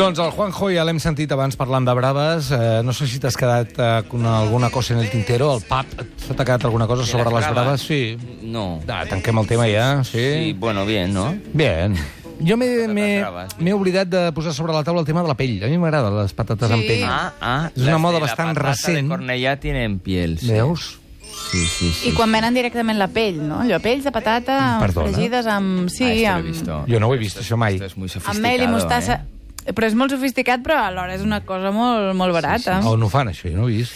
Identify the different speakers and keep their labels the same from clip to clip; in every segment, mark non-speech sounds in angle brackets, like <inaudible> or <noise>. Speaker 1: Doncs el Juanjo ja l'hem sentit abans parlant de braves. Eh, no sé si t'has quedat eh, con alguna cosa en el tintero. El pap s'ha quedat alguna cosa sobre
Speaker 2: las
Speaker 1: les braves?
Speaker 2: bravas?
Speaker 1: Sí.
Speaker 2: No.
Speaker 1: Ah, tanquem el tema ja,
Speaker 2: Sí,
Speaker 1: sí.
Speaker 2: bueno, bien, ¿no?
Speaker 1: Bien. Jo m'he- m'he
Speaker 2: braves, sí.
Speaker 1: m'he oblidat de posar sobre la taula el tema de la pell. A mi m'agraden les patates
Speaker 3: Sí.
Speaker 1: amb pell.
Speaker 2: Ah, ah.
Speaker 1: És una
Speaker 2: las
Speaker 1: moda
Speaker 2: de la
Speaker 1: bastant
Speaker 2: patata
Speaker 1: recent.
Speaker 2: De Cornellà tienen piel. Sí,
Speaker 1: Veus?
Speaker 2: sí, sí. sí.
Speaker 3: I quan venen directament la pell, no? Allò, pells de patata
Speaker 1: Perdona?
Speaker 3: fregides amb...
Speaker 2: Mm, Ah,
Speaker 3: Sí,
Speaker 2: esto lo he
Speaker 3: amb,
Speaker 2: visto.
Speaker 1: Jo no ho he vist,
Speaker 2: Esto es-
Speaker 1: això mai.
Speaker 2: Esto es muy
Speaker 3: amb mel i
Speaker 2: sofisticado,
Speaker 3: mostassa.
Speaker 2: eh?
Speaker 3: Eh? Però és molt sofisticat, però alhora és una cosa molt, molt barata.
Speaker 2: Oh.
Speaker 3: Sí,
Speaker 1: On ho fan, això? Jo no ho he vist.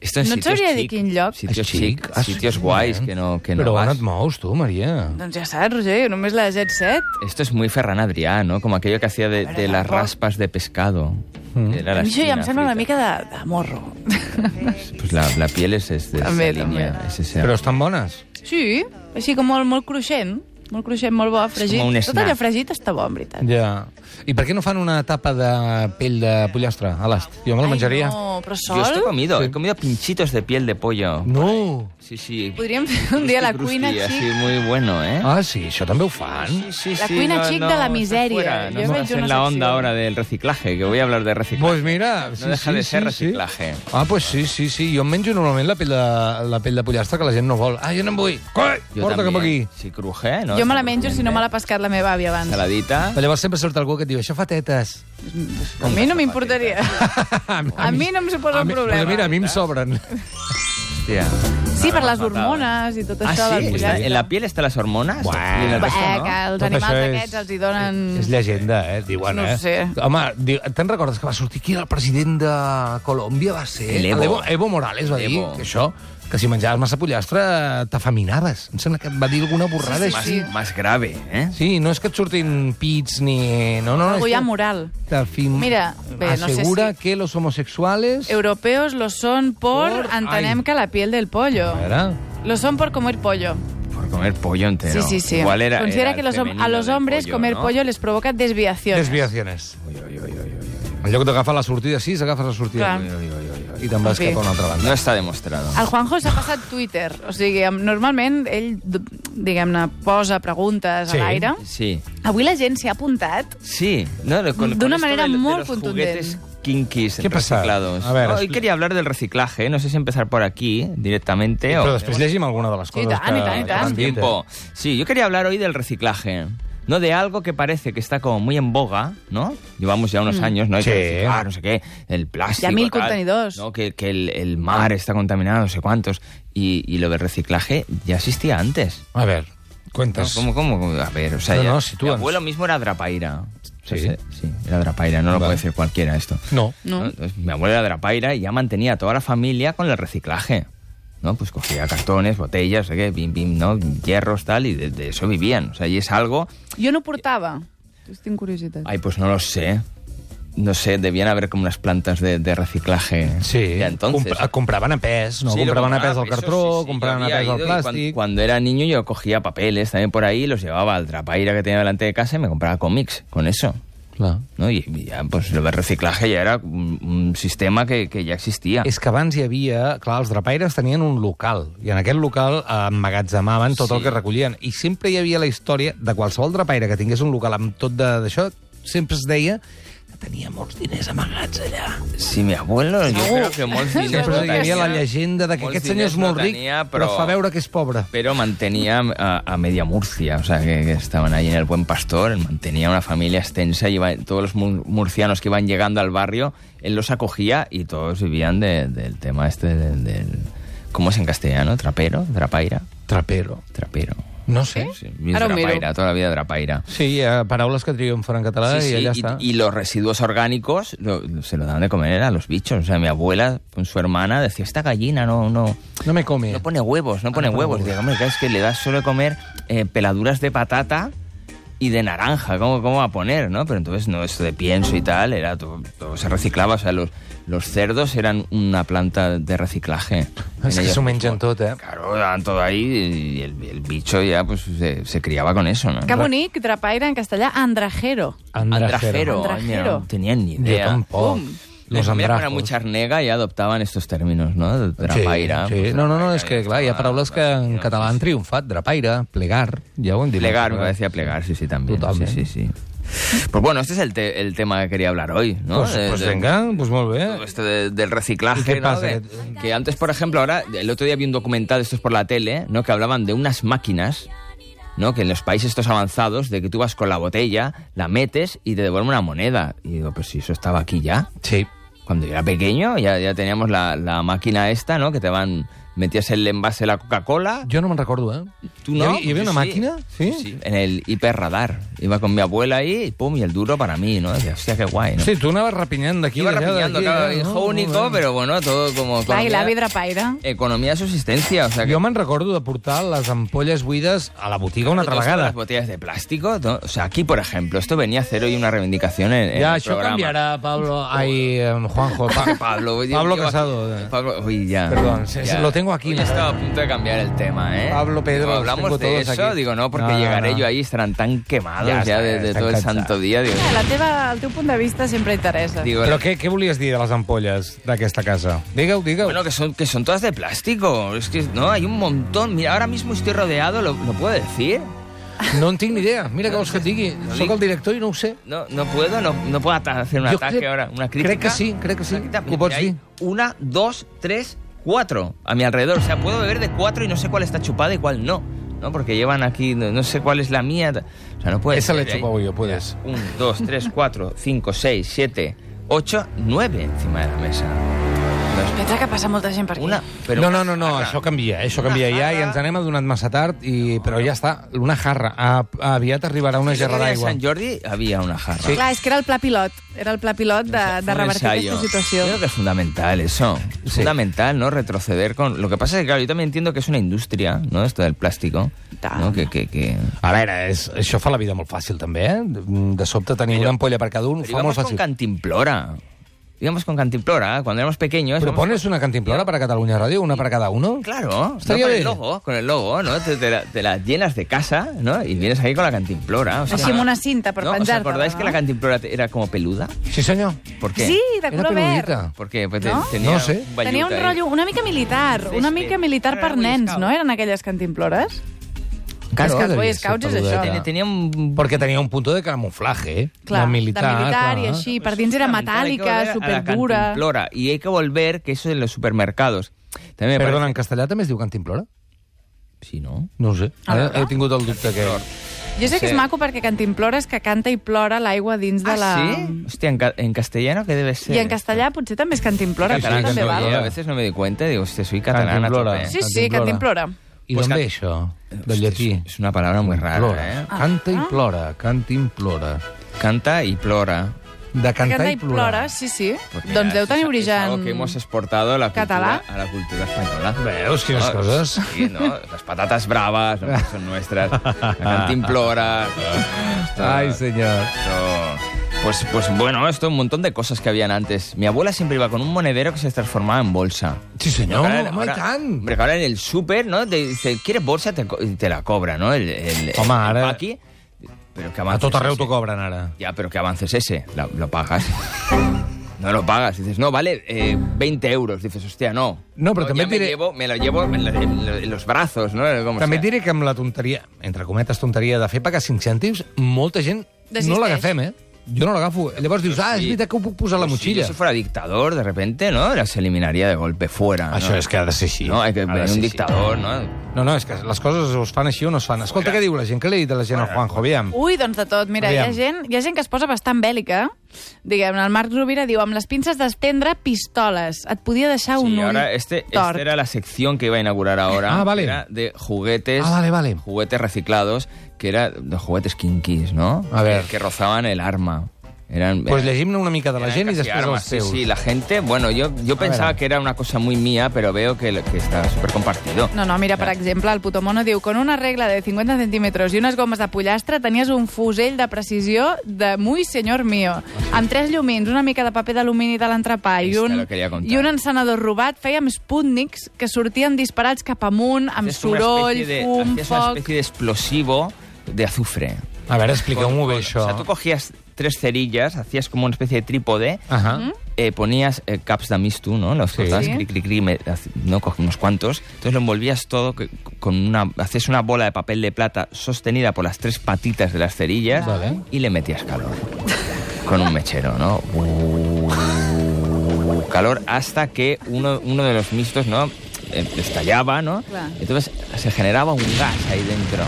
Speaker 2: Esto en
Speaker 3: No et
Speaker 2: sitios
Speaker 3: sabria dir
Speaker 2: chic,
Speaker 3: quin lloc.
Speaker 2: Sitios
Speaker 1: És xic?
Speaker 2: chic,
Speaker 1: Ah, sí,
Speaker 2: sitios guais
Speaker 1: bien.
Speaker 2: que no, que no
Speaker 1: Però on
Speaker 2: vas.
Speaker 1: et mous, tu, Maria?
Speaker 3: Doncs ja saps, Roger, jo només la Jet Set.
Speaker 2: Esto es muy Ferran Adrià, ¿no? Como aquello que hacía de, de las raspas de pescado.
Speaker 1: Hmm.
Speaker 2: De la
Speaker 3: A mi això ja
Speaker 2: espina
Speaker 3: em sembla una
Speaker 2: frita.
Speaker 3: mica de, de morro. <laughs>
Speaker 2: Pues la, la piel es, es de esa
Speaker 3: També,
Speaker 2: línea.
Speaker 3: també.
Speaker 2: Es esa-
Speaker 1: Però estan bones?
Speaker 3: Sí, així com molt, molt cruixent. Molt cruixent, molt bo, fregit.
Speaker 2: com un
Speaker 3: Tot allò
Speaker 2: snack.
Speaker 3: fregit està bo, en veritat.
Speaker 1: Ja. I per què no fan una tapa de pell de pollastre a l'ast? Jo me la menjaria.
Speaker 3: Ai, no, però
Speaker 2: Yo esto he
Speaker 3: sol...
Speaker 2: comido,
Speaker 1: Sí.
Speaker 2: he comido pinchitos de piel de pollo.
Speaker 1: No!
Speaker 2: Sí, sí.
Speaker 3: Podríem fer <laughs> un dia la
Speaker 2: Crusty,
Speaker 3: cuina
Speaker 2: crusty,
Speaker 3: xic.
Speaker 2: Así, muy bueno, ¿eh?
Speaker 1: Ah, sí, això també ho fan.
Speaker 2: Sí, sí,
Speaker 3: La
Speaker 2: sí,
Speaker 3: cuina chic de la
Speaker 2: estás
Speaker 3: miseria.
Speaker 2: fuera,
Speaker 3: Yo
Speaker 2: No
Speaker 3: he
Speaker 2: estás
Speaker 3: hecho
Speaker 2: en
Speaker 3: una
Speaker 2: la onda
Speaker 3: sección.
Speaker 2: ahora del reciclaje, que voy a hablar de reciclaje.
Speaker 1: Pues mira...
Speaker 2: No deja de ser reciclaje.
Speaker 1: Ah, pues sí, sí, sí. Jo em menjo normalment la pell de, la pell de pollastre que la gent no vol. Ah, jo no em vull. Coi,
Speaker 2: Yo
Speaker 1: porta
Speaker 2: también.
Speaker 1: cap aquí.
Speaker 2: Si cruje, ¿no?
Speaker 3: Jo
Speaker 2: Está
Speaker 3: me la menjo si no me l'ha pescat la meva àvia abans.
Speaker 2: Saladita.
Speaker 1: Però llavors sempre surt algú que et diu, això fa tetes. <laughs>
Speaker 3: A mi no m'importaria. A mi no em suposa
Speaker 1: A
Speaker 3: un
Speaker 1: mi-
Speaker 3: problema.
Speaker 1: Doncs mira, a mi em sobren.
Speaker 2: Hostia.
Speaker 3: Sí, per
Speaker 2: Ahora
Speaker 3: les
Speaker 2: me has matado.
Speaker 3: hormones i tot
Speaker 2: Ah,
Speaker 3: això.
Speaker 2: sí?
Speaker 3: del
Speaker 2: Está-
Speaker 3: pollastre.
Speaker 2: ¿En la piel están las hormonas?
Speaker 1: Buah.
Speaker 2: Y en el resto,
Speaker 3: Eh,
Speaker 2: ¿no?
Speaker 3: que els
Speaker 1: Tot
Speaker 3: animals
Speaker 1: això és-
Speaker 3: aquests els hi donen...
Speaker 1: És llegenda, eh? Diuen,
Speaker 3: No
Speaker 1: eh?
Speaker 3: sé.
Speaker 1: Home, diu, te'n recordes que va sortir qui era el president de Colòmbia? Va ser...
Speaker 2: El Evo.
Speaker 1: Evo, Evo Morales va dir
Speaker 2: Evo.
Speaker 1: que això, que si menjaves massa pollastre t'afaminaves. Em sembla que va dir alguna borrada
Speaker 2: Más,
Speaker 1: així.
Speaker 3: Sí.
Speaker 2: más grave, ¿eh?
Speaker 1: Sí, no és que et surtin pits ni... No, no, no.
Speaker 3: Algo
Speaker 1: és
Speaker 3: ja
Speaker 1: que
Speaker 3: moral.
Speaker 1: t'afim-
Speaker 3: Mira, bé, no sé
Speaker 1: asegura
Speaker 3: si-
Speaker 1: que los homosexuales...
Speaker 3: Europeos lo son por...
Speaker 1: Por-
Speaker 3: Entenem
Speaker 1: Ai.
Speaker 3: que la piel del pollo.
Speaker 1: A veure...
Speaker 3: Lo son por comer pollo.
Speaker 2: Por comer pollo entero.
Speaker 3: Sí, sí, sí.
Speaker 2: Igual era,
Speaker 3: Considera
Speaker 2: era
Speaker 3: que
Speaker 2: el
Speaker 3: los hom-
Speaker 2: femenino
Speaker 3: a los
Speaker 2: del
Speaker 3: hombres comer
Speaker 2: ¿no?
Speaker 3: pollo les provoca desviaciones.
Speaker 1: Desviaciones. En lloc d'agafar la sortida 6, agafes la sortida
Speaker 3: Clar.
Speaker 1: 8 i te'n vas
Speaker 3: En fi.
Speaker 1: cap a una altra banda.
Speaker 2: No está demostrado.
Speaker 3: El Juanjo s'ha passat Twitter. O sigui, em- normalment ell, d- diguem-ne, posa preguntes
Speaker 1: Sí.
Speaker 3: a l'aire.
Speaker 2: Sí.
Speaker 3: Avui la gent s'hi ha apuntat.
Speaker 2: Sí, no, lo- con,
Speaker 3: De
Speaker 2: con
Speaker 3: una
Speaker 2: esto
Speaker 3: manera
Speaker 2: de, de
Speaker 3: muy
Speaker 2: los
Speaker 3: contundente.
Speaker 2: juguetes kinkis
Speaker 1: ¿Qué pasa?
Speaker 2: reciclados.
Speaker 1: A ver,
Speaker 2: No, hoy
Speaker 1: expli-
Speaker 2: quería hablar del reciclaje, no sé si empezar por aquí directamente
Speaker 1: Però
Speaker 2: o
Speaker 1: després llegim alguna de les
Speaker 3: Sí,
Speaker 1: coses
Speaker 3: tant,
Speaker 1: que...
Speaker 3: i tant, i
Speaker 1: que
Speaker 3: tant.
Speaker 1: han
Speaker 2: más
Speaker 1: dit, eh?
Speaker 2: tiempo. Sí, yo quería hablar hoy del reciclaje. No de algo que parece que está como muy en boga, ¿no? Llevamos ya unos años, ¿no? Hay
Speaker 1: Sí.
Speaker 2: que reciclar, no sé qué, el plástico.
Speaker 3: Mm. Ya mil
Speaker 2: tal,
Speaker 3: contenidos.
Speaker 2: ¿no? Que, que el, el mar está contaminado, no sé cuántos. Y, y lo del reciclaje ya existía antes.
Speaker 1: A ver,
Speaker 2: No,
Speaker 1: cuentes.
Speaker 2: ¿Cómo, cómo? A ver, o sea,
Speaker 1: Pues No,
Speaker 2: ya-
Speaker 1: no, sitúanos.
Speaker 2: mi abuelo mismo era Drapaira. O sea,
Speaker 1: Sí.
Speaker 2: se- sí, era Drapaira, no
Speaker 1: Vale.
Speaker 2: lo puede decir cualquiera esto.
Speaker 1: No.
Speaker 3: No.
Speaker 2: Entonces, mi abuelo era Drapaira y ya mantenía a toda la familia con el reciclaje. ¿no? Pues cogía cartones, botellas, no sé qué, bim, bim, ¿no? hierros, tal, y de, de eso vivían. O sea, y es algo...
Speaker 3: Jo no portava. Estic curiositat.
Speaker 2: Ay, pues no lo sé. No sé, debían haber como unas plantas de, de reciclaje.
Speaker 1: Sí,
Speaker 2: Ya entonces.
Speaker 1: compra- compraven a pes, no?
Speaker 2: Sí, lo
Speaker 1: compraven a pes
Speaker 2: compraba,
Speaker 1: el
Speaker 2: eso
Speaker 1: cartró,
Speaker 2: sí, sí,
Speaker 1: compraven
Speaker 2: yo
Speaker 1: a
Speaker 2: había
Speaker 1: pes
Speaker 2: ido
Speaker 1: el
Speaker 2: y cuan- Cuando,
Speaker 1: plàstic...
Speaker 2: era niño yo cogía papeles también por ahí, los llevaba al Drapaira que tenía delante de casa y me compraba cómics con eso.
Speaker 1: Clar.
Speaker 2: ¿no? Y, y ya, pues lo del reciclaje ya era un, un sistema que, que ya existía.
Speaker 1: És que abans hi havia... Clar, els drapaires tenien un local, i en aquest local eh, emmagatzemaven tot
Speaker 2: Sí.
Speaker 1: el que recollien. I sempre hi havia la història de qualsevol drapaire que tingués un local amb tot de- d'això, sempre es deia que tenia molts diners amagats allà.
Speaker 2: Si mi abuelo, yo creo que molts
Speaker 1: <laughs>
Speaker 2: diners
Speaker 1: Sempre
Speaker 2: no
Speaker 1: hi havia la
Speaker 2: tenia,
Speaker 1: llegenda de que
Speaker 2: molts
Speaker 1: aquest senyor
Speaker 2: diners
Speaker 1: és molt
Speaker 2: no
Speaker 1: ric,
Speaker 2: tenia,
Speaker 1: però fa veure que és pobre.
Speaker 2: Pero mantenía a, a media Murcia, o sea, que, que estaban allí en el Buen Pastor, mantenía una familia extensa y iba- todos los mur- murcianos que iban llegando al barrio, él los acogía y todos vivían de- del tema este del, del- ¿Cómo es en castellano? ¿Trapero? ¿Drapaira?
Speaker 1: Trapero.
Speaker 2: Trapero.
Speaker 1: No sé.
Speaker 2: Sí, y
Speaker 3: Ara ho miro.
Speaker 2: drapaira, toda la vida drapaira.
Speaker 1: Sí, hi ha paraules que triomfen en català
Speaker 2: Sí, sí,
Speaker 1: i allà està.
Speaker 2: y los residuos orgánicos lo- se lo daban de comer a los bichos. O sea, mi abuela con su hermana decía, esta gallina no, no,
Speaker 1: No me come.
Speaker 2: no pone huevos, no pone
Speaker 1: Ah, no pone
Speaker 2: huevos.
Speaker 1: huevos.
Speaker 2: Digo, hombre, claro, es que le das solo de comer eh, peladuras de patata y de naranja, ¿cómo, ¿cómo va a poner? no Pero entonces no, esto de pienso y tal, era todo, todo se reciclaba. O sea, los, los cerdos eran una planta de reciclaje.
Speaker 1: <laughs>
Speaker 2: En
Speaker 1: És que
Speaker 2: ellos
Speaker 1: s'ho mengen
Speaker 2: mismos.
Speaker 1: tot, eh?
Speaker 2: Claro, daban todo ahí y el, el bicho ya pues se, se criaba con eso, ¿no?
Speaker 3: Que bonic, drapaire en castellà, andrajero.
Speaker 2: Andrajero. Ay,
Speaker 3: Andrajero.
Speaker 2: mira, no tenían ni
Speaker 1: Yo
Speaker 2: idea.
Speaker 1: tampoco.
Speaker 2: Los
Speaker 1: Los
Speaker 2: familias
Speaker 1: andrajos.
Speaker 2: para mucha arnega y adoptaban estos términos, ¿no? Drapaira.
Speaker 1: Sí, sí.
Speaker 2: pues,
Speaker 1: No, no, no,
Speaker 2: drapaira,
Speaker 1: és que,
Speaker 2: y
Speaker 1: clar, hi ha
Speaker 2: estaba-
Speaker 1: paraules que en català han triomfat. Drapaire, plegar, ja ho hem dit.
Speaker 2: Plegar, me parecía plegar, sí, sí, también.
Speaker 1: Totalment.
Speaker 2: Sí, sí, sí. Pues bueno, este es el, te- el tema que quería hablar hoy, ¿no?
Speaker 1: Pues,
Speaker 2: De-
Speaker 1: pues
Speaker 2: de-
Speaker 1: venga, pues molt bé.
Speaker 2: todo esto de- del
Speaker 1: ¿Y
Speaker 2: reciclaje.
Speaker 1: qué
Speaker 2: ¿no?
Speaker 1: pasa?
Speaker 2: De-
Speaker 1: Que-
Speaker 2: que antes, por ejemplo, ahora, el otro día vi un documental, esto es por la tele, ¿no? que hablaban de unas máquinas, ¿no? que en los países estos avanzados, de que tú vas con la botella, la metes y te devuelve una moneda. Y digo, pues si eso estaba aquí ya.
Speaker 1: Sí.
Speaker 2: Cuando yo era pequeño ya, ya teníamos la, la máquina esta, ¿no? que te van, metías el envase de la Coca-Cola.
Speaker 1: Jo no me'n recordo, eh?
Speaker 2: ¿Tú
Speaker 1: Hi
Speaker 2: no?
Speaker 1: havia, hi havia una
Speaker 2: Sí,
Speaker 1: màquina? Sí?
Speaker 2: En el hiperradar. Iba con mi abuela ahí, y pum, y el duro para mí, ¿no? Decía, hostia, qué guay, ¿no?
Speaker 1: Sí, tu anaves rapinyant d'aquí,
Speaker 2: Iba
Speaker 1: d'allà,
Speaker 2: rapiñando,
Speaker 1: d'aquí.
Speaker 2: claro,
Speaker 1: d'allà,
Speaker 2: hijo
Speaker 1: no?
Speaker 2: único,
Speaker 1: Molt bé.
Speaker 2: pero bueno, todo como...
Speaker 3: Clar, i
Speaker 2: economía-
Speaker 3: l'avi drapaire.
Speaker 2: Economía de subsistencia, o sea que...
Speaker 1: Jo me'n recordo de portar les ampolles buides a la botiga una altra
Speaker 2: Todas
Speaker 1: vegada.
Speaker 2: Las botellas de plástico, to- o sea, aquí, por ejemplo, esto venía a hacer hoy una reivindicación en, en
Speaker 1: Ja,
Speaker 2: el
Speaker 1: això
Speaker 2: programa.
Speaker 1: canviarà, Pablo... Ai, em, Juanjo.
Speaker 2: Pa-
Speaker 1: Pa... <laughs>
Speaker 2: Pablo, oye,
Speaker 1: Pablo
Speaker 2: lleva-
Speaker 1: Casado. eh.
Speaker 2: Pablo, uy, ya.
Speaker 1: Perdón, se-
Speaker 2: ya.
Speaker 1: se- lo tengo aquí,
Speaker 2: Hoy
Speaker 1: me
Speaker 2: estaba a punto de cambiar el tema, ¿eh?
Speaker 1: Pablo, Pedro,
Speaker 2: Digo,
Speaker 1: los tengo
Speaker 2: hablamos de
Speaker 1: todos
Speaker 2: eso,
Speaker 1: aquí.
Speaker 2: digo, no, porque
Speaker 1: No, no,
Speaker 2: llegaré
Speaker 1: no.
Speaker 2: yo ahí, estarán tan quemados
Speaker 1: Ya
Speaker 2: ya,
Speaker 1: está,
Speaker 2: de,
Speaker 1: ya
Speaker 2: de
Speaker 1: están
Speaker 2: todo el
Speaker 1: cansados.
Speaker 2: santo día. Digo,
Speaker 3: Eh, La teva, el teu punt de vista sempre interessa.
Speaker 2: digo,
Speaker 1: Però què, què volies dir de les ampolles d'aquesta casa? Digue-ho, digue-ho.
Speaker 2: Bueno, que son, que son todas de plástico. Es que, no, hay un montón. Mira, ahora mismo estoy rodeado, ¿lo, lo puedo decir?
Speaker 1: No en tinc ni idea. Mira què vols que et digui. Soc el director i no ho sé.
Speaker 2: No, no puedo, no, no puedo ata- hacer un
Speaker 1: Yo
Speaker 2: ataque
Speaker 1: creo-
Speaker 2: ahora, una
Speaker 1: creo
Speaker 2: crítica.
Speaker 1: que sí, creo que sí.
Speaker 2: Una crítica,
Speaker 1: Tú pots
Speaker 2: porque hay
Speaker 1: dir.
Speaker 2: Una, dos, tres, cuatro a mi alrededor. O sea, puedo beber de cuatro y no sé cuál está chupada y cuál no. ¿no? Porque llevan aquí, no, no sé cuál es la mía. O sea, no puede
Speaker 1: Esa
Speaker 2: ser,
Speaker 1: la he
Speaker 2: hay-
Speaker 1: chupado yo, puedes.
Speaker 2: Un, dos, tres,
Speaker 1: <laughs>
Speaker 2: cuatro, cinco, seis, siete, ocho, nueve encima de la mesa. No
Speaker 3: Pensa que passa molta gent per
Speaker 2: es
Speaker 3: aquí.
Speaker 2: Una, pero
Speaker 1: no,
Speaker 2: una
Speaker 1: no, no, no,
Speaker 2: jarra.
Speaker 1: això canvia, eh, això canvia
Speaker 2: Una
Speaker 1: ja i
Speaker 2: jarra.
Speaker 1: ens n'hem adonat massa tard, i... però ja està, una jarra. A, aviat arribarà una
Speaker 2: El otro
Speaker 1: gerra
Speaker 2: día en
Speaker 1: d'aigua.
Speaker 2: Sant Jordi había una jarra.
Speaker 1: Sí.
Speaker 3: Clar, és que era el pla pilot. Era el pla pilot de, de
Speaker 2: Un
Speaker 3: revertir
Speaker 2: ensayo.
Speaker 3: aquesta situació.
Speaker 2: Creo que es fundamental eso. Es
Speaker 1: Sí.
Speaker 2: fundamental, ¿no? Retroceder con... Lo que pasa es que, claro, yo también entiendo que es una industria, ¿no? Esto del plástico.
Speaker 3: Ta.
Speaker 2: ¿no? Que, que, que...
Speaker 1: A veure, és, això fa la vida molt fàcil, també, eh? De- De sobte tenir una ampolla per cada un, ho
Speaker 2: Pero
Speaker 1: fa
Speaker 2: íbamos
Speaker 1: molt
Speaker 2: con
Speaker 1: fàcil.
Speaker 2: cantimplora. Íbamos con cantimplora. ¿eh? Cuando éramos pequeños...
Speaker 1: Però
Speaker 2: íbamos
Speaker 1: pones una cantimplora per a Catalunya Ràdio, una per a cada uno?
Speaker 2: con- Claro, ¿no?
Speaker 1: Estaría
Speaker 2: con
Speaker 1: bien.
Speaker 2: el logo, con el logo, ¿no? Te, te la, te la llenas de casa, ¿no? Y vienes ahí con la cantimplora. O sea,
Speaker 3: Així amb una cinta per
Speaker 2: ¿no? ¿Os
Speaker 3: penjar-te-la,
Speaker 2: acordáis
Speaker 3: no?
Speaker 2: que la cantimplora te- era como peluda?
Speaker 1: Sí, senyor.
Speaker 2: ¿Por qué?
Speaker 3: Sí, de
Speaker 1: Era
Speaker 3: color verd.
Speaker 1: peludita.
Speaker 2: Porque pues,
Speaker 3: ¿No?
Speaker 2: tenía
Speaker 1: No sé.
Speaker 2: vellut eh?
Speaker 3: Tenia un
Speaker 2: ahí.
Speaker 3: rotllo una mica militar, una mica militar per nens, no? Eren aquelles cantimplores?
Speaker 1: Claro,
Speaker 3: és que els
Speaker 1: devia
Speaker 3: Boy
Speaker 1: ser
Speaker 3: Scouts és
Speaker 1: peludeta.
Speaker 3: això.
Speaker 2: Tenía un
Speaker 1: Perquè tenia un punto de camuflaje, eh? de
Speaker 3: Clar,
Speaker 1: militar,
Speaker 3: de militar
Speaker 1: clar.
Speaker 3: i així. Per dins era metàl·lica, superdura...
Speaker 2: Flora. Y hay que volver, que eso en los supermercados. También me
Speaker 1: Eh, Perdona,
Speaker 2: parece-
Speaker 1: en castellà també es diu cantimplora?
Speaker 2: Sí, ¿no?
Speaker 1: No ho sé.
Speaker 3: Ah,
Speaker 1: Ara
Speaker 3: no?
Speaker 1: he tingut el dubte que...
Speaker 3: Jo sé que és
Speaker 2: Sí.
Speaker 3: maco perquè Cantimplora és que canta i plora l'aigua dins de la...
Speaker 2: ¿Ah, sí? Hostia, en, ca- en castellano, ¿qué debe ser?
Speaker 3: I en castellà potser també és Cantimplora,
Speaker 1: Sí, sí,
Speaker 3: sí, sí, també
Speaker 1: Cantimplora.
Speaker 3: val.
Speaker 2: Oye, a veces no me di cuenta, digo, hostia, soy catalana.
Speaker 1: Cantimplora.
Speaker 2: a tope.
Speaker 3: Sí, sí,
Speaker 1: Cantimplora.
Speaker 3: Cantimplora.
Speaker 1: I
Speaker 2: Pues
Speaker 1: d'on
Speaker 2: ca-
Speaker 1: ve això, del
Speaker 2: Hostia,
Speaker 1: llatí?
Speaker 2: Es, es una palabra muy
Speaker 1: Plora.
Speaker 2: rara, ¿eh?
Speaker 1: Canta i plora, canta i plora.
Speaker 2: Canta y plora.
Speaker 1: De cantar
Speaker 3: Canta
Speaker 1: i
Speaker 3: i plora,
Speaker 1: plorar.
Speaker 3: sí, sí.
Speaker 2: Porque
Speaker 3: doncs
Speaker 2: mira,
Speaker 3: deu
Speaker 2: es-
Speaker 3: tenir
Speaker 2: Es
Speaker 3: origen...
Speaker 2: algo que hemos exportado a la
Speaker 3: català.
Speaker 2: cultura, a la cultura española.
Speaker 1: Veus, quines
Speaker 2: No,
Speaker 1: coses?
Speaker 2: Sí, ¿no? Las patatas bravas no,
Speaker 1: <laughs>
Speaker 2: son nuestras. La cantimplora.
Speaker 1: Ai, senyor.
Speaker 2: Esto- Pues, pues bueno, esto un montón de cosas que habían antes. Mi abuela siempre iba con un monedero que se transformaba en bolsa.
Speaker 1: Sí, senyor,
Speaker 2: Ahora-
Speaker 1: home,
Speaker 2: ahora-
Speaker 1: i tant.
Speaker 2: Hombre, que ahora en el súper, ¿no? Te dice, ¿quieres bolsa? Te, co- y te la cobra, ¿no? El, el,
Speaker 1: Home, ara-
Speaker 2: Aquí. Pero que
Speaker 1: A
Speaker 2: avances
Speaker 1: tot arreu
Speaker 2: ese.
Speaker 1: t'ho cobren, ara.
Speaker 2: Ya, pero ¿qué avance es ese? La- lo pagas. <laughs> No lo pagas. Dices, no, vale eh, 20 euros. Dices, hostia, no.
Speaker 1: No, pero también
Speaker 2: ya me,
Speaker 1: diré-
Speaker 2: llevo, me lo llevo en, la- en lo- en los brazos, ¿no? Como
Speaker 1: També
Speaker 2: sea.
Speaker 1: et diré que amb la tonteria, entre cometes, tonteria de fer pagar 5 cèntims, molta gent no
Speaker 3: Desisteix.
Speaker 1: l'agafem, eh? Jo no l'agafo. Llavors dius, ah, és
Speaker 2: Sí.
Speaker 1: veritat que ho puc posar a la
Speaker 2: Pues
Speaker 1: motxilla.
Speaker 2: Si yo fuera dictador, de repente, ¿no? Las eliminaría de golpe fuera. ¿no?
Speaker 1: Això és que ha de ser així.
Speaker 2: No, hay que
Speaker 1: Ha de
Speaker 2: venir
Speaker 1: ser
Speaker 2: un
Speaker 1: així.
Speaker 2: dictador,
Speaker 3: Ah,
Speaker 2: ¿no?
Speaker 1: No, no, és que les coses o es fan així o no es fan. Escolta, què diu la gent? Què li ha dit a la gent a Juanjo? Aviam.
Speaker 3: Ui, doncs de tot. Mira, hi ha,
Speaker 1: Aviam.
Speaker 3: gent, hi ha gent que es posa bastant bèl·lica. Diguem, el Marc Rovira diu, amb les pinces d'estendre pistoles. Et podia deixar un
Speaker 2: Sí,
Speaker 3: ull
Speaker 2: ahora este, esta
Speaker 3: tort.
Speaker 2: era la sección que iba a inaugurar ahora.
Speaker 1: Ah, vale.
Speaker 2: que Era de juguetes.
Speaker 1: Ah, vale, vale.
Speaker 2: Juguetes reciclados, que era los juguetes kinkis, ¿no?
Speaker 1: A ver.
Speaker 2: Que, que rozaban el arma. Eran.
Speaker 1: Doncs pues
Speaker 2: eran-
Speaker 1: llegim-ne una mica de la
Speaker 2: eran
Speaker 1: gent i
Speaker 2: casi
Speaker 1: després
Speaker 2: armas.
Speaker 1: els teus.
Speaker 2: Sí, sí, la gente. Bueno, yo, yo pensaba
Speaker 1: ver.
Speaker 2: que era una cosa muy mía, pero veo que, lo- que está súper compartido.
Speaker 3: No, no, mira, per exemple, el Putomono diu con una regla de 50 centímetres i unes gomes de pollastre tenies un fusell de precisió de muy señor mío. Amb tres llumins, una mica de paper d'alumini de l'entrepà i
Speaker 2: Esta
Speaker 3: un,
Speaker 2: la quería contar.
Speaker 3: i un encenedor robat, fèiem sputniks que sortien disparats cap amunt, amb
Speaker 2: Hacías Este una
Speaker 3: soroll,
Speaker 2: especie de-
Speaker 3: fum,
Speaker 2: hacías una
Speaker 3: foc...
Speaker 2: especie de explosivo de azufre.
Speaker 1: A veure, expliqueu-m'ho bé,
Speaker 2: O
Speaker 1: això. Ah.
Speaker 3: Mm?
Speaker 2: sea, tú cogías tres cerillas, hacías como una especie de trípode
Speaker 1: Ahà.
Speaker 2: eh, ponías eh, caps de mistú, ¿no? Los
Speaker 1: Sí.
Speaker 2: cortabas,
Speaker 3: Sí.
Speaker 2: cri, cri, cri, me- hace- ¿no? Cogí unos cuantos. Entonces lo envolvías todo que- con una... Haces una bola de papel de plata sostenida por las tres patitas de las cerillas
Speaker 1: Vale.
Speaker 2: y le metías calor. con un mechero, ¿no? Uh, calor hasta que uno, uno de los mistos, ¿no? Eh, Estallaba, ¿no?
Speaker 3: Claro.
Speaker 2: Entonces se generaba un gas ahí dentro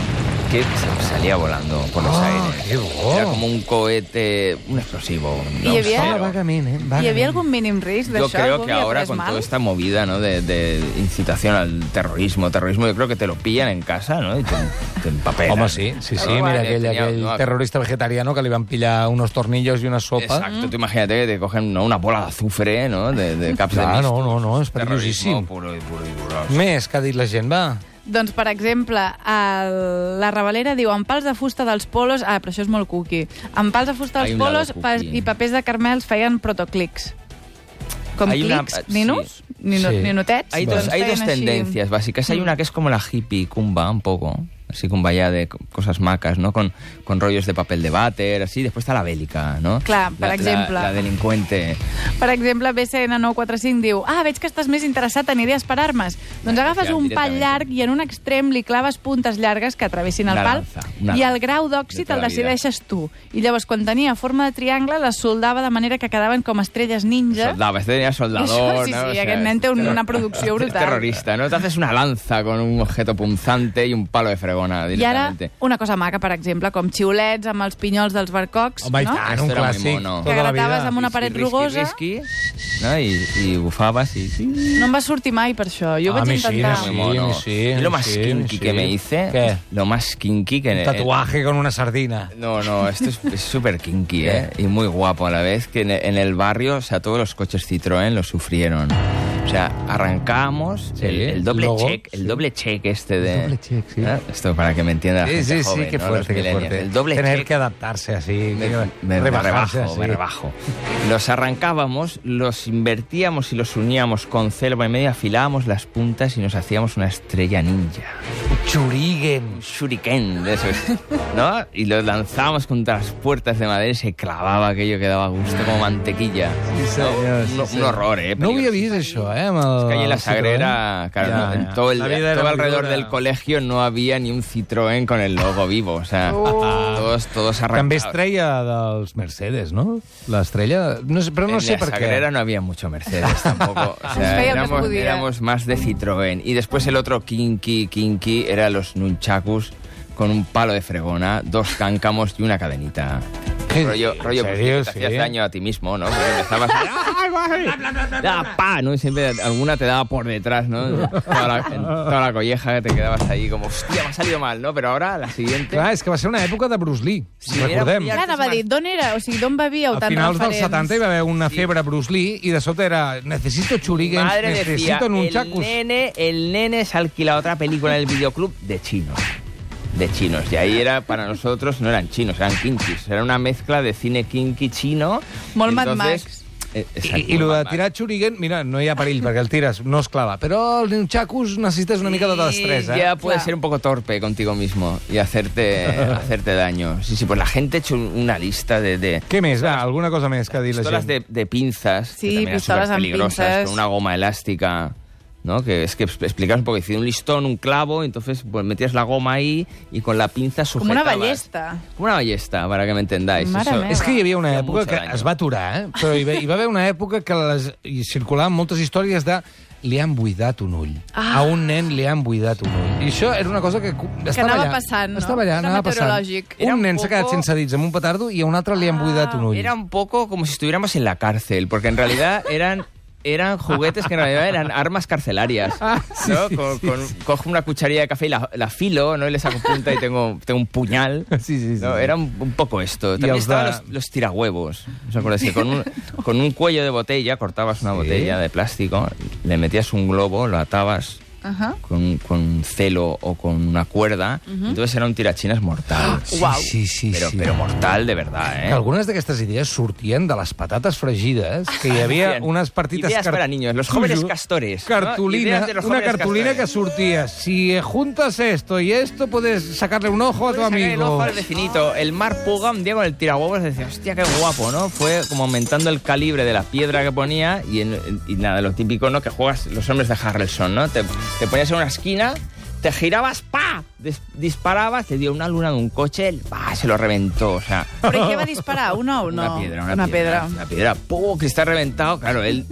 Speaker 2: que sa- salía volando por los
Speaker 1: Ah,
Speaker 2: aires.
Speaker 1: qué bo.
Speaker 2: Era como un cohete, un explosivo.
Speaker 3: Y
Speaker 2: ¿no?
Speaker 3: había-
Speaker 2: Pero-
Speaker 1: Sona vagament, eh?
Speaker 3: Hi
Speaker 1: Vagament.
Speaker 3: havia algun mínim risc
Speaker 2: yo
Speaker 3: d'això?
Speaker 2: creo
Speaker 3: Algú
Speaker 2: que
Speaker 3: havia
Speaker 2: ahora
Speaker 3: pres
Speaker 2: con
Speaker 3: mal?
Speaker 2: toda esta movida ¿no? de, de incitación al terrorismo, terrorismo, yo creo que te lo pillan en casa, ¿no? Y te, te empapelan.
Speaker 1: Home, sí, sí, sí,
Speaker 2: Igual,
Speaker 1: mira
Speaker 2: eh,
Speaker 1: aquell,
Speaker 2: tenía-
Speaker 1: aquell
Speaker 2: no,
Speaker 1: terrorista vegetariano que li van pillar unos tornillos i una sopa.
Speaker 2: Exacto, tú imagínate que te cogen ¿no? una bola de azufre, ¿no?
Speaker 1: <laughs>
Speaker 2: De, de caps de
Speaker 1: Clar,
Speaker 2: misto.
Speaker 1: no, no, no, és perillosíssim.
Speaker 2: Terrorismo puro y puro y puro.
Speaker 1: Més que ha dit la gent, va.
Speaker 3: Doncs, per exemple, el... la Revalera diu amb pals de fusta dels polos... Ah, però això és molt cuqui. Amb pals de fusta
Speaker 2: Hay
Speaker 3: dels
Speaker 2: un lado
Speaker 3: polos pa
Speaker 2: cookie.
Speaker 3: i papers de carmel es feien protoclics. Com
Speaker 2: Hay una- sí.
Speaker 3: clics, ninos, nino,
Speaker 1: Sí.
Speaker 3: ninotets.
Speaker 2: Hay dos,
Speaker 3: doncs
Speaker 2: hay
Speaker 3: feien
Speaker 2: dos
Speaker 3: així.
Speaker 2: tendencias básicas.
Speaker 3: Mm.
Speaker 2: Hay una que es como la hippie cumba, un poco. Así cumba ya de co- cosas macas, ¿no? Con, con rollos de papel de váter, así. Después está la bélica, ¿no?
Speaker 3: Claro, por
Speaker 2: La- la-
Speaker 3: ejemplo.
Speaker 2: La, delincuente.
Speaker 3: Per exemple, BCN945 diu Ah, veig que estàs més interessat en idees per armes. Doncs
Speaker 2: Ja,
Speaker 3: agafes
Speaker 2: ja,
Speaker 3: un pal
Speaker 2: directament.
Speaker 3: llarg i en un extrem li claves puntes llargues que travessin el
Speaker 2: Una
Speaker 3: pal
Speaker 2: lanza, una
Speaker 3: i el
Speaker 2: lanza.
Speaker 3: grau
Speaker 2: De
Speaker 3: d'òxid
Speaker 2: tota
Speaker 3: el
Speaker 2: la
Speaker 3: decideixes tu. I llavors, quan tenia forma de triangle, les soldava de manera que quedaven com estrelles ninja.
Speaker 2: Soldado, este tenía soldador.
Speaker 3: Eso, <laughs> sí,
Speaker 2: ¿no?
Speaker 3: sí, aquest nen té un-
Speaker 2: terror-
Speaker 3: una producció brutal.
Speaker 2: Terrorista, ¿no? Te haces una lanza con un objeto punzante y un palo de fregona
Speaker 3: I ara,
Speaker 2: directamente.
Speaker 3: una cosa maca, per exemple, com xiulets amb els pinyols dels barcocs,
Speaker 1: Home, i
Speaker 3: no?
Speaker 1: tant, un
Speaker 2: Esto era muy
Speaker 1: clàssic.
Speaker 2: mono.
Speaker 1: Tota la
Speaker 3: T'agradaves
Speaker 1: vida.
Speaker 3: amb una
Speaker 2: Risqui,
Speaker 3: paret
Speaker 2: risqui,
Speaker 3: rugosa.
Speaker 2: risqui, ¿no? Y, y bufabas y...
Speaker 3: No em va sortir mai per això. Jo ho
Speaker 1: A
Speaker 3: vaig
Speaker 1: mi sí,
Speaker 3: intentar.
Speaker 1: a mi
Speaker 2: Muy
Speaker 1: sí.
Speaker 2: mono.
Speaker 1: sí,
Speaker 2: Y lo más
Speaker 1: sí,
Speaker 2: kinky
Speaker 1: sí.
Speaker 2: que me hice...
Speaker 1: ¿Qué?
Speaker 2: Lo más kinky que...
Speaker 1: Un
Speaker 2: Eh.
Speaker 1: tatuaje Eh, con una sardina.
Speaker 2: No, no, esto es es súper
Speaker 1: <laughs>
Speaker 2: kinky, ¿eh? Y muy guapo a la vez, que en e- en el barrio, o sea, todos los coches Citroën lo sufrieron. O sea, arrancamos
Speaker 1: Sí,
Speaker 2: el, el doble
Speaker 1: luego,
Speaker 2: check, el
Speaker 1: sí.
Speaker 2: doble check este de...
Speaker 1: doble check, sí.
Speaker 2: ¿eh? Esto para que me entienda la
Speaker 1: Sí,
Speaker 2: gente
Speaker 1: sí, sí,
Speaker 2: joven,
Speaker 1: qué
Speaker 2: ¿no? Los
Speaker 1: fuerte, qué
Speaker 2: millennials.
Speaker 1: fuerte.
Speaker 2: El doble
Speaker 1: Tener
Speaker 2: check
Speaker 1: que adaptarse así,
Speaker 2: me,
Speaker 1: que
Speaker 2: me- me
Speaker 1: rebajarse
Speaker 2: rebajo, me
Speaker 1: así.
Speaker 2: rebajo. Los arrancábamos, los invertíamos y los uníamos con celva y media, afilábamos las puntas y nos hacíamos una estrella ninja.
Speaker 1: Churiguen.
Speaker 2: Un shuriken de esos, ¿no? Y los lanzábamos contra las puertas de madera y se clavaba aquello que daba gusto como mantequilla.
Speaker 1: Sí, senyor,
Speaker 2: un,
Speaker 1: sí,
Speaker 2: un
Speaker 1: senyor.
Speaker 2: horror, ¿eh?
Speaker 1: No ho havia
Speaker 2: Peligroso.
Speaker 1: vist, això, eh? Amb el, eh.
Speaker 2: Es que allí en la
Speaker 1: el Citroën.
Speaker 2: Sagrera, claro,
Speaker 1: Ja,
Speaker 2: no,
Speaker 1: ja.
Speaker 2: en todo, el-
Speaker 1: La vida era
Speaker 2: todo
Speaker 1: muy
Speaker 2: alrededor
Speaker 1: dura.
Speaker 2: del colegio no había ni un Citroën con el logo vivo, o sea,
Speaker 1: Oh.
Speaker 2: todos, todos arrancados.
Speaker 1: També estrella dels Mercedes, no? L'estrella... No sé, però no
Speaker 2: en
Speaker 1: sé
Speaker 2: Eh, la
Speaker 1: per què.
Speaker 2: Sagrera no había mucho
Speaker 1: <laughs>
Speaker 2: Mercedes tampoco. O
Speaker 3: Nos
Speaker 2: sea,
Speaker 3: veía que
Speaker 2: éramos,
Speaker 3: pudiera.
Speaker 2: éramos más de Citroën. Y después el otro kinky, kinky, era los nunchakus con un palo de fregona, dos cáncamos y una cadenita.
Speaker 1: ¿Qué
Speaker 2: Rollo,
Speaker 1: dices?
Speaker 2: rollo
Speaker 1: ¿En
Speaker 2: pues,
Speaker 1: serio?
Speaker 2: que te hacías
Speaker 1: Sí.
Speaker 2: daño a ti mismo, ¿no? Porque empezabas...
Speaker 1: <laughs>
Speaker 2: ¡Ah, pa! ¿no? Y siempre alguna te daba por detrás, ¿no? Toda la, en toda la colleja que te quedabas ahí como, hostia, me ha salido mal, ¿no? Pero ahora la siguiente...
Speaker 1: Clar, és que va ser una època de Bruce Lee,
Speaker 2: Sí,
Speaker 1: si recordem.
Speaker 2: era-
Speaker 3: Clar, anava a dir, d'on era? O sigui, d'on bevíeu
Speaker 1: A
Speaker 3: tant
Speaker 1: finals dels
Speaker 3: referents?
Speaker 1: 70 hi va haver una febre Bruce Lee i de sobte era necesito
Speaker 2: Mi
Speaker 1: churiguens,
Speaker 2: madre decía,
Speaker 1: necesito
Speaker 2: el
Speaker 1: nunchakus.
Speaker 2: nene, el nene se alquila otra película en el videoclub de chinos. De chinos. Y ahí era, para nosotros, no eran chinos, eran kinkis. Era una mezcla de cine kinky chino.
Speaker 3: Molt Mad
Speaker 2: Entonces,
Speaker 3: Max.
Speaker 2: eh, exacto,
Speaker 1: I, I lo
Speaker 2: Mad
Speaker 1: de
Speaker 2: Max.
Speaker 1: tirar xuriguen, mira, no hi ha perill, perquè el tires, no es clava. Però els nunchakus necessites una mica de destresa.
Speaker 2: Y
Speaker 1: Eh?
Speaker 2: Ya puedes
Speaker 3: Claro.
Speaker 2: ser un poco torpe contigo mismo
Speaker 1: <laughs>
Speaker 2: y hacerte, hacerte daño. Sí, sí, pues la gente ha hecho una lista de, de
Speaker 1: Què més? Va, alguna cosa més que ha dit la
Speaker 2: pistolas
Speaker 1: gent.
Speaker 2: de, de pinzas.
Speaker 3: Sí,
Speaker 2: que también eran
Speaker 3: pistolas amb
Speaker 2: superpeligrosas,
Speaker 3: pinzas.
Speaker 2: Con una goma elástica. ¿no? Que es que expl- explicabas un poco, hiciste un listón, un clavo, entonces pues, metías la goma ahí y con la pinza
Speaker 3: Como una
Speaker 2: sujetabas.
Speaker 3: ballesta.
Speaker 2: Como una ballesta, para que me entendáis.
Speaker 3: Mare meva.
Speaker 1: És que hi havia una
Speaker 2: Feia
Speaker 1: època
Speaker 2: mucho
Speaker 1: que
Speaker 2: daño.
Speaker 1: es va aturar, eh? però hi va, hi va haver una època que les, hi circulaven moltes històries de li han buidat un ull.
Speaker 3: Ah.
Speaker 1: A un nen li han buidat un ull. I això era una cosa que... cu- estava
Speaker 3: anava
Speaker 1: allà,
Speaker 3: passant, no?
Speaker 1: Estava allà,
Speaker 3: Era
Speaker 1: anava passant.
Speaker 3: meteorològic.
Speaker 1: Un,
Speaker 2: Era un
Speaker 1: nen s'ha quedat
Speaker 2: poco-
Speaker 1: sense dits amb un petardo i a un altre li han buidat un ull.
Speaker 2: Era un poco como si estuviéramos en la cárcel, porque en realidad <laughs> eran... Eran juguetes que en realidad eran armas carcelarias.
Speaker 3: Ah,
Speaker 2: ¿no? Con- con- Cojo una cucharilla de café y la, la filo, ¿no? Y le saco punta y tengo, tengo un
Speaker 3: <laughs>
Speaker 2: puñal.
Speaker 1: <laughs> Sí, sí, sí.
Speaker 2: No, Era un, un poco esto. También
Speaker 1: els de-
Speaker 2: estaban los, los tirahuevos. ¿Os acordáis? Que
Speaker 1: <laughs>
Speaker 2: con un, con un cuello de botella cortabas una botella de plástico, le metías un globo, lo atabas
Speaker 3: Ajá.
Speaker 2: con, con un celo o con una cuerda. Entonces era un tirachinas mortal.
Speaker 1: Sí,
Speaker 3: Uau.
Speaker 1: sí, sí.
Speaker 2: Pero,
Speaker 1: sí.
Speaker 2: pero mortal de verdad,
Speaker 1: Que
Speaker 2: ¿eh?
Speaker 1: algunes d'aquestes idees sortien de les patates fregides, que hi havia
Speaker 2: Bien.
Speaker 1: unes partites...
Speaker 2: Ideas para niños, los jóvenes castores, ¿no?
Speaker 1: Cartulina,
Speaker 2: Ideas de los
Speaker 1: una
Speaker 2: jóvenes
Speaker 1: cartulina que
Speaker 2: castores.
Speaker 1: sortia. Si juntas esto y esto, puedes sacarle un ojo a tu
Speaker 2: Sacar El
Speaker 1: amigo.
Speaker 2: ojo al vecinito. El Mar Puga un día con el tirahuevos decía, hostia, qué guapo, ¿no? Fue como aumentando el calibre de la piedra que ponía y, en- y nada, lo típico, ¿no? Que juegas los hombres de Harrelson, ¿no? Te, te ponías en una esquina, te girabas, ¡pa! Dis- disparabas, te dio una luna de un coche, ¡pa! Se lo reventó, o sea...
Speaker 3: Però què va disparar? Un ou, no?
Speaker 2: Una piedra, una,
Speaker 3: una
Speaker 2: piedra.
Speaker 3: pedra.
Speaker 2: Una piedra, ¡pum! Cristal reventado. Claro, él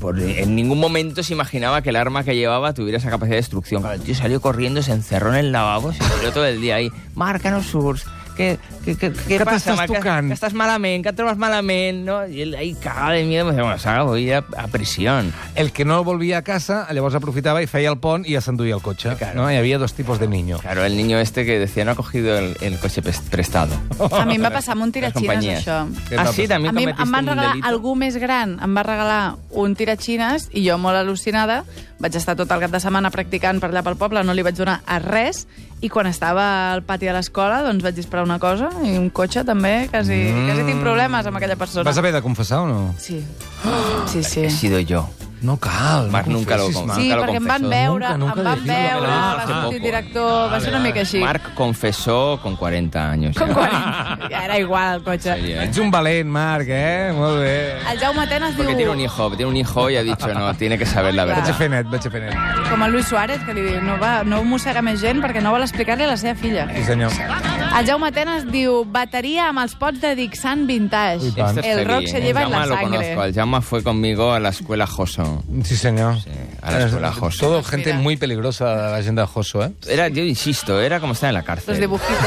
Speaker 2: por- en ningún momento se imaginaba que el arma que llevaba tuviera esa capacidad de destrucción. Claro, el tío salió corriendo, se encerró en el lavabo, se tiró todo el día ahí. Márcanos surs. ¿Qué, qué, qué, qué,
Speaker 1: te
Speaker 2: passa,
Speaker 1: estàs
Speaker 2: ma? Que-
Speaker 1: tocant?
Speaker 2: Que estàs malament, que et trobes malament, no? I ell ahí cagado de miedo, me decía, bueno, Saga, voy a, a prisión.
Speaker 1: El que no volvia a casa, llavors aprofitava i feia el pont i ja s'enduia el cotxe.
Speaker 2: Claro.
Speaker 1: No? Hi havia dos tipus de niño.
Speaker 2: Claro, el niño este que decía no ha cogido el, el coche pres- prestado.
Speaker 3: A mi em
Speaker 2: <laughs>
Speaker 3: va passar amb un tiratxines,
Speaker 2: compañías.
Speaker 3: això.
Speaker 1: Què
Speaker 2: Ah,
Speaker 1: va
Speaker 2: sí,
Speaker 1: passar?
Speaker 2: també
Speaker 3: A mi
Speaker 2: cometiste
Speaker 3: em van
Speaker 2: un
Speaker 3: regalar,
Speaker 2: delito.
Speaker 3: algú més gran em va regalar un tiratxines i jo, molt al·lucinada, vaig estar tot el cap de setmana practicant per allà pel poble, no li vaig donar a res, i quan estava al pati de l'escola doncs vaig disparar una cosa, i un cotxe també, quasi,
Speaker 1: Mm.
Speaker 3: quasi tinc problemes amb aquella persona.
Speaker 1: Vas haver de confessar o no?
Speaker 3: Sí. <gasps> Sí, sí.
Speaker 2: He sido yo.
Speaker 1: No cal.
Speaker 2: Marc, nunca lo
Speaker 1: confessis,
Speaker 2: com-
Speaker 1: Marc.
Speaker 3: Sí,
Speaker 2: Nunca lo
Speaker 3: perquè em van
Speaker 2: confesó.
Speaker 3: veure,
Speaker 1: Nunca, nunca
Speaker 3: em van
Speaker 1: decidido.
Speaker 3: veure,
Speaker 2: Ah,
Speaker 3: va
Speaker 2: hace
Speaker 3: sortir el
Speaker 2: poco.
Speaker 3: director, va
Speaker 2: Vale,
Speaker 3: ser una mica així.
Speaker 2: Marc confesó con 40 años.
Speaker 3: Com
Speaker 2: ya.
Speaker 3: quan... Ja era igual, el cotxe.
Speaker 2: Sí, eh.
Speaker 1: Ets un valent, Marc, eh? Molt bé.
Speaker 3: El Jaume Atenas diu...
Speaker 2: Porque tiene un hijo, tiene un hijo y ha dicho, no, tiene que saber la
Speaker 1: Vaig a
Speaker 2: verdad.
Speaker 1: fer net, vaig a fer net.
Speaker 3: Com el Luis Suárez, que li diu, no, va, no mossega més gent perquè no vol explicar-li a la seva filla.
Speaker 1: Sí, senyor.
Speaker 3: El Jaume Atenas diu, bateria amb els pots de Dixant Vintage.
Speaker 1: Ui, pa.
Speaker 2: Este es
Speaker 3: El
Speaker 2: Feli,
Speaker 3: rock se
Speaker 2: ¿eh?
Speaker 3: lleva en la
Speaker 2: Jaume lo
Speaker 3: sangre.
Speaker 2: conozco. El Jaume fue conmigo a la escuela Joso.
Speaker 1: Sí, senyor.
Speaker 2: Sí, a la escuela Joso.
Speaker 1: Todo gente
Speaker 3: Mira.
Speaker 1: muy peligrosa, la gent de Joso, eh?
Speaker 2: Era, yo insisto, era como estar en la cárcel.
Speaker 3: Los dibujitos.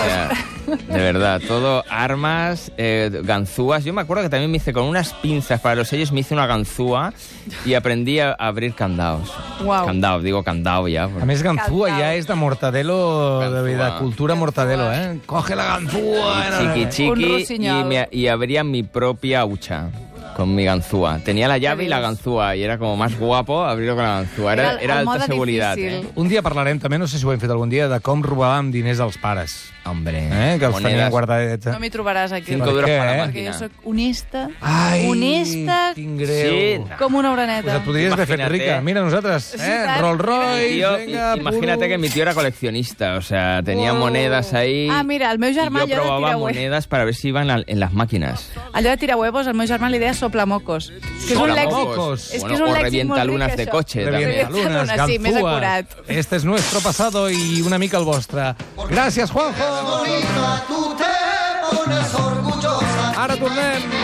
Speaker 2: de verdad, todo armas, eh, ganzúas. Yo me acuerdo que también me hice con unas pinzas para los sellos, me hice una ganzúa y aprendí a abrir candados.
Speaker 3: Guau.
Speaker 2: Candado, digo candado ya. porque-
Speaker 1: A més, ganzúa
Speaker 3: Calzado.
Speaker 1: ja és de mortadelo, de, de
Speaker 2: Ganzúa.
Speaker 1: cultura mortadelo, eh? Coge la eh? ganzúa. no, no, no.
Speaker 2: chiqui
Speaker 3: Un
Speaker 2: chiqui y,
Speaker 3: rusiñol.
Speaker 2: me- y abría mi propia hucha con mi ganzúa. Tenía la llave y la
Speaker 3: dices?
Speaker 2: ganzúa y era como más guapo abrirlo con la ganzúa. Era,
Speaker 3: Era el-
Speaker 2: era
Speaker 3: el
Speaker 2: alta
Speaker 3: modo
Speaker 2: seguridad.
Speaker 3: difícil.
Speaker 2: ¿eh?
Speaker 1: Un dia parlarem també, no sé si ho hem fet algun dia, de com robàvem diners als pares.
Speaker 2: Hombre,
Speaker 1: Eh? Que els tenien eh?
Speaker 2: monedas.
Speaker 1: guardadeta.
Speaker 3: No m'hi trobaràs aquí.
Speaker 2: Cinco
Speaker 1: Per
Speaker 2: duros
Speaker 1: què,
Speaker 2: para
Speaker 1: eh?
Speaker 2: la
Speaker 3: Perquè jo
Speaker 2: máquina.
Speaker 3: sóc honesta,
Speaker 1: Ai,
Speaker 3: honesta
Speaker 1: quin
Speaker 2: Sí,
Speaker 1: greu.
Speaker 2: no.
Speaker 3: com una
Speaker 1: Pues
Speaker 3: oraneta.
Speaker 1: et podries haver fet
Speaker 2: Imagina't,
Speaker 1: rica.
Speaker 2: eh?
Speaker 1: Mira, nosaltres,
Speaker 3: Sí,
Speaker 1: eh?
Speaker 3: tant.
Speaker 1: Rolls Royce,
Speaker 2: Mi tío-
Speaker 1: vinga,
Speaker 2: i- imagínate
Speaker 1: puro.
Speaker 2: que mi tío era coleccionista, o sea, tenía
Speaker 1: Wow.
Speaker 2: monedas ahí.
Speaker 3: Ah, mira, el meu
Speaker 2: y
Speaker 3: germà
Speaker 2: yo
Speaker 3: allò de
Speaker 2: probaba
Speaker 3: tiragüe.
Speaker 2: monedas para ver si iban al- en las máquinas.
Speaker 3: Allò de tirar huevos, el meu germà li deia soplamocos. Que és un lèxic...
Speaker 1: Soplamocos.
Speaker 3: És
Speaker 2: Bueno,
Speaker 3: que és un
Speaker 2: o
Speaker 3: lèxic molt ric,
Speaker 2: revientalunas de
Speaker 3: això.
Speaker 2: coche.
Speaker 1: Revienta
Speaker 2: también.
Speaker 3: Revienta-
Speaker 1: lunas,
Speaker 3: lunas, sí, més
Speaker 1: ganzúas.
Speaker 3: acurat.
Speaker 1: Este es nuestro pasado y una mica el vostre. Gràcies, Juanjo!
Speaker 4: bonita, tú te pones orgullosa.
Speaker 1: Ara tornem!